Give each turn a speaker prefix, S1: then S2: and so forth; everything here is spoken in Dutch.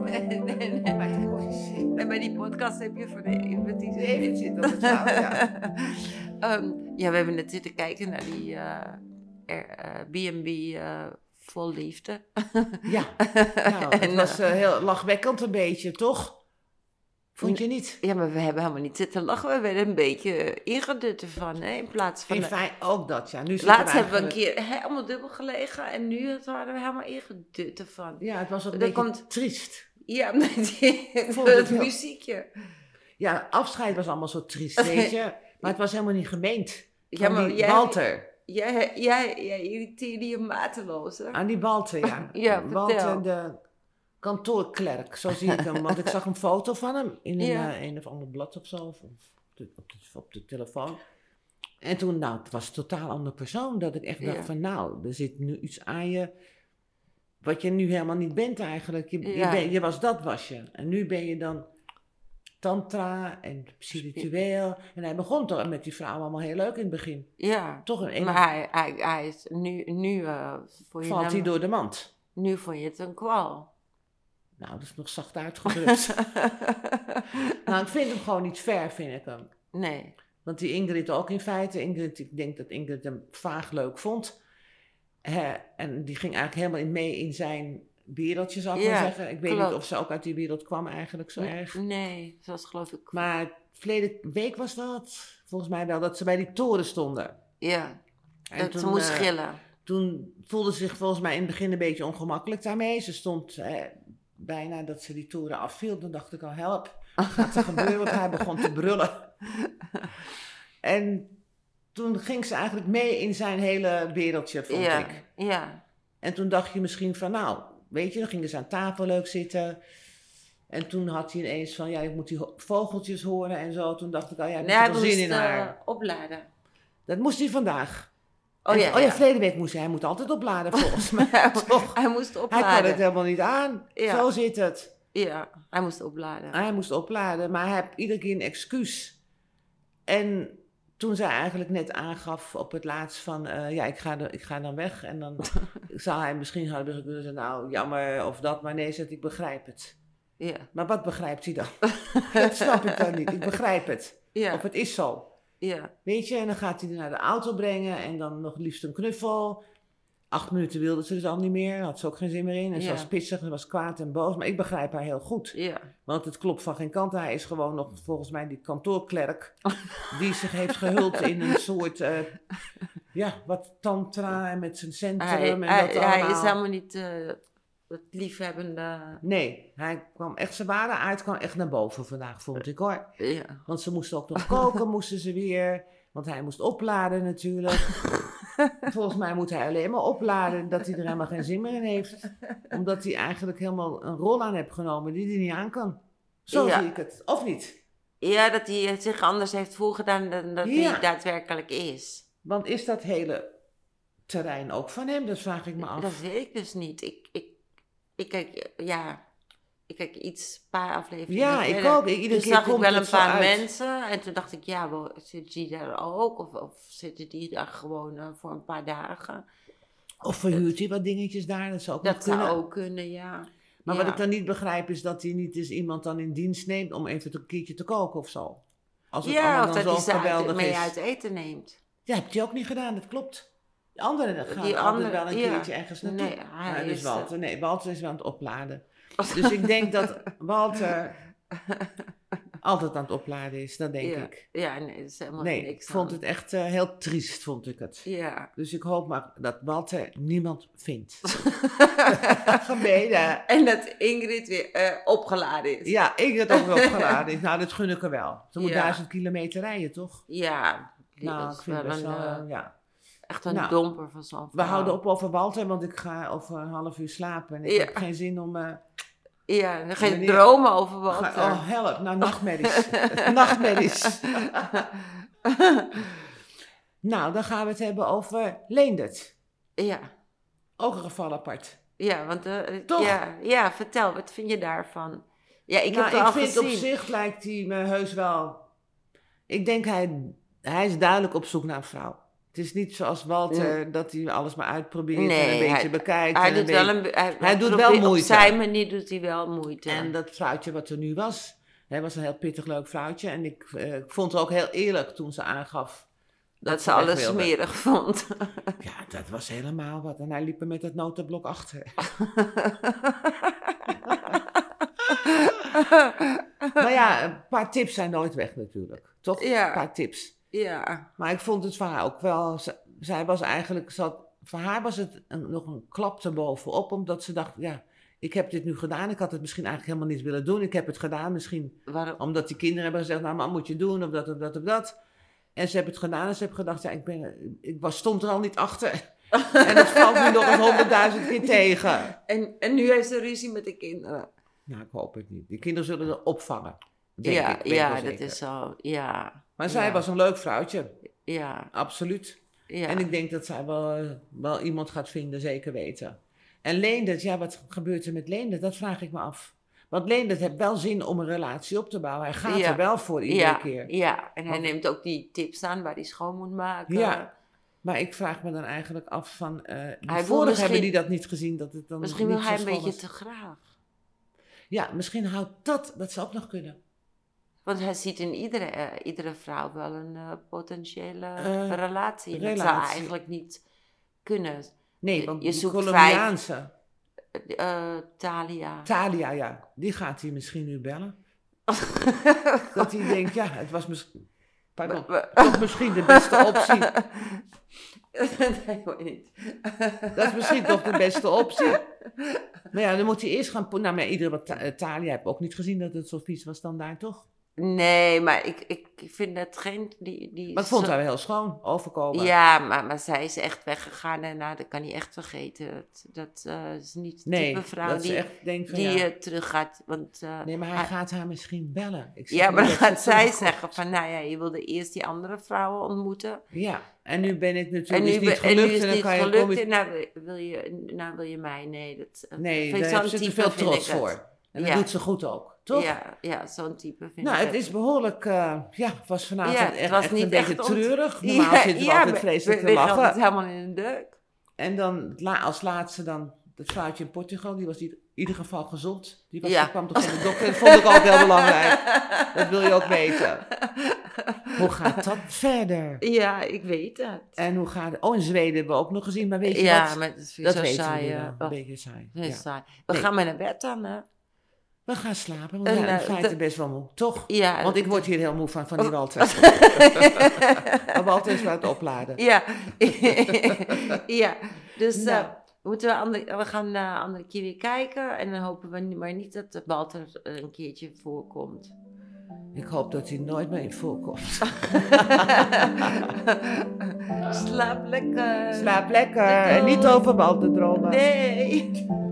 S1: nee, nee.
S2: Maar het kost je zin.
S1: En bij die podcast heb je voor de
S2: Dus
S1: infantiele
S2: Even zitten op het touw, ja.
S1: Ehm, ja, we hebben net zitten kijken naar die eh, er- eh, B&B eh, vol liefde.
S2: Ja, nou,
S1: En,
S2: het was
S1: eh,
S2: eh, heel lachwekkend een beetje, toch? Vond je niet?
S1: ja, maar we hebben helemaal niet zitten lachen. We werden een beetje ingedut ervan, hè, in plaats van...
S2: In feite ook dat, ja. Nu zitten
S1: Laatst hebben we een
S2: eigenlijk-
S1: keer helemaal dubbel gelegen en nu het waren we helemaal ingedut ervan.
S2: Ja, het was een
S1: Dat
S2: beetje
S1: komt-
S2: triest.
S1: Ja, met die,
S2: vond het
S1: het
S2: wel-
S1: muziekje.
S2: Ja, afscheid was allemaal zo triest, weet je. Maar het was helemaal niet gemeend.
S1: Ja,
S2: Aan
S1: maar
S2: die
S1: jij-
S2: Walter.
S1: Jij, jij, jij irriteerde je mateloos, hè?
S2: Aan die Walter, ja.
S1: Ja, vertel.
S2: Walter, de kantoorklerk, zo zie ik hem. Want ik zag een foto van hem in een,
S1: Ja.
S2: eh, een of ander blad of zo. Of op, de, op, de, op de telefoon. En toen, nou, het was een totaal andere persoon. Dat ik echt dacht
S1: Ja.
S2: van, nou, er zit nu iets aan je... Wat je nu helemaal niet bent eigenlijk. Je, je,
S1: Ja.
S2: ben- je was dat, was je. En nu ben je dan tantra en spiritueel. En hij begon toch met die vrouw allemaal heel leuk in het begin.
S1: Ja.
S2: Toch een,
S1: Maar hij, hij, hij is nu, nu eh, voor je
S2: valt hij
S1: hem-
S2: door de mand.
S1: Nu vond je het een kwal.
S2: Nou, dat is nog zacht uitgedrukt. nou, ik vind hem gewoon niet ver, vind ik hem.
S1: nee.
S2: Want die Ingrid ook in feite. Ingrid, ik denk dat Ingrid hem vaag leuk vond. Hè, en die ging eigenlijk helemaal in mee in zijn wereldje, zou ik
S1: Ja,
S2: maar zeggen. Ik weet
S1: klopt.
S2: niet of ze ook uit die wereld kwam eigenlijk zo
S1: N-
S2: erg.
S1: Nee, ze was geloof ik...
S2: Maar verleden week was dat, volgens mij wel, dat ze bij die toren stonden.
S1: ja,
S2: En
S1: dat ze
S2: toen,
S1: moest
S2: eh,
S1: schillen.
S2: toen voelde ze zich volgens mij in het begin een beetje ongemakkelijk daarmee. Ze stond eh, bijna dat ze die toren afviel. Toen dacht ik al, help, wat gaat er gebeuren? Want hij begon te brullen. En toen ging ze eigenlijk mee in zijn hele wereldje, vond
S1: ja,
S2: ik.
S1: ja,
S2: En toen dacht je misschien van, nou, weet je, dan gingen ze aan tafel leuk zitten. En toen had hij ineens van, ja, ik moet die ho- vogeltjes horen en zo. Toen dacht ik al, ja, ik
S1: Nee,
S2: heb
S1: hij
S2: wel
S1: moest
S2: zin in
S1: eh,
S2: haar.
S1: opladen.
S2: Dat moest hij vandaag.
S1: Oh
S2: En-
S1: ja,
S2: oh ja,
S1: ja.
S2: verleden week moest hij. Hij moet altijd opladen, volgens mij. Toch?
S1: Hij moest
S2: Hij
S1: opladen.
S2: kan het helemaal niet aan.
S1: Ja.
S2: Zo zit het.
S1: Ja, hij moest opladen.
S2: Hij moest opladen, maar hij heeft iedere keer een excuus. En toen zij eigenlijk net aangaf op het laatst van... eh, ja, ik ga, de- ik ga dan weg. En dan zou hij misschien hebben kunnen zeggen... nou, jammer of dat. Maar nee, zegt, ik begrijp het.
S1: Ja,
S2: Maar wat begrijpt hij dan? dat snap ik dan niet. Ik begrijp het.
S1: ja,
S2: Of het is zo.
S1: ja,
S2: Weet je, en dan gaat hij haar naar de auto brengen en dan nog liefst een knuffel. Acht minuten wilde ze dus al niet meer, had ze ook geen zin meer in. En ze
S1: Ja.
S2: was pissig, ze was kwaad en boos. Maar ik begrijp haar heel goed,
S1: ja.
S2: want het klopt van geen kant. Hij is gewoon nog volgens mij die kantoorklerk die zich heeft gehuld in een soort, eh, ja, wat tantra en met zijn centrum
S1: Hij,
S2: en
S1: hij,
S2: dat
S1: hij
S2: allemaal.
S1: is helemaal niet eh, het liefhebbende...
S2: Nee, hij kwam echt, zijn ware aard kwam echt naar boven vandaag, vond ik hoor.
S1: Ja.
S2: Want ze moesten ook nog koken, moesten ze weer. Want hij moest opladen natuurlijk. Volgens mij moet hij alleen maar opladen dat hij er helemaal geen zin meer in heeft. Omdat hij eigenlijk helemaal een rol aan heeft genomen die hij niet aan kan. Zo
S1: Ja.
S2: zie ik het. Of niet?
S1: ja, dat hij eh, zich anders heeft voorgedaan dan dat
S2: Ja.
S1: hij daadwerkelijk is.
S2: Want is dat hele terrein ook van hem? Dat vraag ik me af.
S1: Dat weet ik dus niet. Ik, ik, ik kijk, eh, ja, ik kijk iets, een paar afleveringen
S2: ja, ik
S1: verder.
S2: ook. Iedere
S1: Toen
S2: keer
S1: zag ik
S2: komt
S1: wel
S2: het
S1: een
S2: zo
S1: paar
S2: uit.
S1: mensen en toen dacht ik, ja, wel, zitten die daar ook? Of, of zitten die daar gewoon eh, voor een paar dagen?
S2: Of verhuurt hij wat dingetjes daar? Dat zou ook nog
S1: Dat
S2: kunnen.
S1: zou ook kunnen, ja.
S2: Maar
S1: Ja.
S2: wat ik dan niet begrijp is dat hij niet eens iemand dan in dienst neemt om even een keertje te koken of zo. Als het
S1: ja,
S2: allemaal
S1: of dat
S2: dan
S1: hij
S2: zo
S1: ze uit,
S2: geweldig
S1: mee
S2: is.
S1: uit eten neemt.
S2: Ja, heb je ook niet gedaan, dat klopt. De anderen gaan
S1: Die
S2: altijd
S1: anderen,
S2: wel een
S1: ja.
S2: keertje ergens naartoe.
S1: Nee, hij
S2: Maar dus
S1: is, eh,
S2: Walter, nee, Walter is wel aan het opladen. Dus ik denk dat Walter altijd aan het opladen is, dat denk
S1: ja.
S2: ik.
S1: Ja, nee, dat is helemaal
S2: Nee, ik
S1: niks
S2: vond
S1: aan.
S2: het echt eh, heel triest, vond ik het.
S1: Ja.
S2: Dus ik hoop maar dat Walter niemand vindt. Gebeden.
S1: en dat Ingrid weer eh, opgeladen is.
S2: Ja, ik dat ook wel geladen is. Nou, dat gun ik er wel. Ze moet
S1: Ja.
S2: duizend kilometer rijden, toch?
S1: Ja, die
S2: nou,
S1: is
S2: ik vind het
S1: wel
S2: best
S1: een,
S2: wel,
S1: eh,
S2: eh, ja.
S1: echt een
S2: nou,
S1: domper van zo'n
S2: We
S1: verhaal.
S2: houden op over Walter, want ik ga over een half uur slapen. En ik
S1: Ja.
S2: heb geen zin om... eh,
S1: Ja, dan ga je
S2: Meneer-
S1: dromen over wat. eh,
S2: ga-
S1: er-
S2: oh, help. Nou, nachtmerries. nachtmerries. nou, dan gaan we het hebben over Leendert.
S1: ja,
S2: Ook een geval apart.
S1: ja, want... eh,
S2: Toch?
S1: Ja, ja, vertel, wat vind je daarvan? Ja, ik
S2: nou,
S1: heb het al
S2: ik vind
S1: gezien.
S2: op zich lijkt hij me heus wel... Ik denk hij, hij is duidelijk op zoek naar een vrouw. Het is niet zoals Walter, dat hij alles maar uitprobeert en
S1: Mm. Nee,
S2: een beetje
S1: hij-
S2: bekijkt.
S1: Hij
S2: en een
S1: doet wel
S2: beetje-
S1: een, be- hij,
S2: hij doet wel
S1: probeert-
S2: moeite.
S1: Op zijn manier doet hij wel moeite.
S2: En dat vrouwtje wat er nu was, hè, was een heel pittig leuk vrouwtje. En ik eh, ik vond het ook heel eerlijk toen ze aangaf
S1: dat, ze
S2: weg
S1: alles
S2: wilde.
S1: smerig vond.
S2: Ja, dat was helemaal wat. En hij liep er met het notenblok achter. maar ja, een paar tips zijn nooit weg natuurlijk. Toch?
S1: Ja.
S2: Een paar tips.
S1: ja.
S2: Maar ik vond het voor haar ook wel... z- Zij was eigenlijk... Zat, voor haar was het een- nog een klap erbovenop. Omdat ze dacht, ja, ik heb dit nu gedaan. Ik had het misschien eigenlijk helemaal niet willen doen. Ik heb het gedaan misschien
S1: Waarom?
S2: omdat die kinderen hebben gezegd, nou, maar moet je doen, of dat, of dat, of dat. En ze hebben het gedaan en ze hebben gedacht, ja, ik, ben, ik was, stond er al niet achter. en dat valt nu nog eens honderdduizend keer tegen.
S1: En, en nu heeft ze ruzie met de kinderen.
S2: Nou, ik hoop het niet. Die kinderen zullen er opvangen. denk
S1: ja,
S2: ik, weet
S1: ja
S2: ik wel
S1: dat
S2: zeker.
S1: is zo. Ja,
S2: Maar zij
S1: ja.
S2: was een leuk vrouwtje,
S1: ja,
S2: absoluut.
S1: ja.
S2: En ik denk dat zij wel, eh, wel iemand gaat vinden, zeker weten. En Leendert, ja, wat gebeurt er met Leendert? Dat vraag ik me af. Want Leendert heeft wel zin om een relatie op te bouwen. Hij gaat
S1: Ja.
S2: er wel voor iedere
S1: ja,
S2: keer.
S1: ja, en hij
S2: Want-
S1: neemt ook die tips aan waar hij schoon moet maken.
S2: Ja. Maar ik vraag me dan eigenlijk af van, eh
S1: wil
S2: vorig
S1: misschien-
S2: hebben die dat niet gezien, dat het dan
S1: Misschien
S2: niet
S1: wil
S2: zo
S1: hij een
S2: schoon
S1: beetje
S2: was.
S1: te graag.
S2: Ja, misschien houdt dat, dat zou ook nog kunnen.
S1: Want hij ziet in iedere, eh, iedere vrouw wel een eh, potentiële
S2: Eh,
S1: relatie. En Dat zou
S2: relatie.
S1: eigenlijk niet kunnen.
S2: Nee,
S1: Je-
S2: want
S1: je
S2: die
S1: zoekt
S2: Colombiaanse,
S1: Eh, Thalia.
S2: Thalia, ja, die gaat hij misschien nu bellen. dat hij denkt, ja, het was misschien, pardon,
S1: We-
S2: toch misschien de beste optie.
S1: nee, hoor niet.
S2: Dat is misschien toch de beste optie. Maar ja, dan moet hij eerst gaan, po- nou, maar iedereen, wat Tha- eh, Thalia heb ook niet gezien dat het zo vies was dan daar, toch?
S1: Nee, maar ik, ik vind dat geen... Die, die
S2: Maar ik vond
S1: zo-
S2: haar wel heel schoon, overkomen.
S1: Ja, maar, maar zij is echt weggegaan en nou, dat kan hij echt vergeten. Dat, dat eh, is niet het
S2: nee,
S1: type vrouw
S2: dat
S1: die,
S2: ze echt denkt van,
S1: die
S2: ja.
S1: eh, terug gaat. Want, eh,
S2: Nee, maar hij
S1: hij-
S2: gaat haar misschien bellen. Ik zeg
S1: ja,
S2: niet
S1: maar dan
S2: dat
S1: gaat
S2: ze
S1: zij
S2: terugkomt.
S1: zeggen van, nou ja, je wilde eerst die andere vrouwen ontmoeten.
S2: Ja, en nu ben ik natuurlijk
S1: En nu,
S2: is niet
S1: be- en
S2: gelukt.
S1: nu
S2: En
S1: is
S2: dan
S1: het niet
S2: kan je
S1: gelukt
S2: kom-
S1: en nou wil- wil je, nou wil je mij. Nee, dat eh,
S2: Nee,
S1: vind ik
S2: daar
S1: zo'n
S2: heeft ze te
S1: type
S2: veel
S1: vind
S2: trots
S1: ik het.
S2: voor. En dat
S1: Ja.
S2: doet ze goed ook, toch?
S1: Ja, ja zo'n type vind
S2: Nou,
S1: ik
S2: het is behoorlijk, eh, ja, het was vanavond
S1: Ja, het
S2: echt,
S1: was
S2: echt
S1: niet
S2: een beetje
S1: echt ont-
S2: treurig. Normaal zitten we altijd
S1: maar
S2: vreselijk
S1: we-
S2: te
S1: we gaan
S2: lachen.
S1: het helemaal in de deuk.
S2: En dan het la- als laatste dan dat vrouwtje in Portugal, die was in ieder geval gezond. Die, was,
S1: Ja.
S2: die kwam toch van de dokter, dat vond ik ook heel belangrijk. Dat wil je ook weten. Hoe gaat dat verder?
S1: Ja, ik weet dat.
S2: En hoe gaat... Oh, in Zweden hebben we ook nog gezien, maar weet je
S1: Ja,
S2: wat?
S1: maar dat vind ik
S2: Dat
S1: zo
S2: weten
S1: saai.
S2: we
S1: eh,
S2: wel,
S1: oh.
S2: een beetje saai.
S1: Dat is
S2: ja.
S1: saai. We
S2: Nee.
S1: gaan maar naar bed dan, hè?
S2: We gaan slapen, want
S1: En,
S2: we zijn in
S1: eh,
S2: feite
S1: dat-
S2: best wel moe, toch?
S1: Ja. Oh.
S2: Want ik word hier heel moe van, van die Walter. Maar Walter is wel het opladen.
S1: ja. ja. Dus eh,
S2: Nou.
S1: moeten we, ander, we gaan eh, een andere keer weer kijken. En dan hopen we maar niet dat de Balter eh, een keertje voorkomt.
S2: Ik hoop dat hij nooit meer in voorkomt.
S1: Slaap lekker.
S2: Slaap lekker en niet over Walter dromen.
S1: Nee.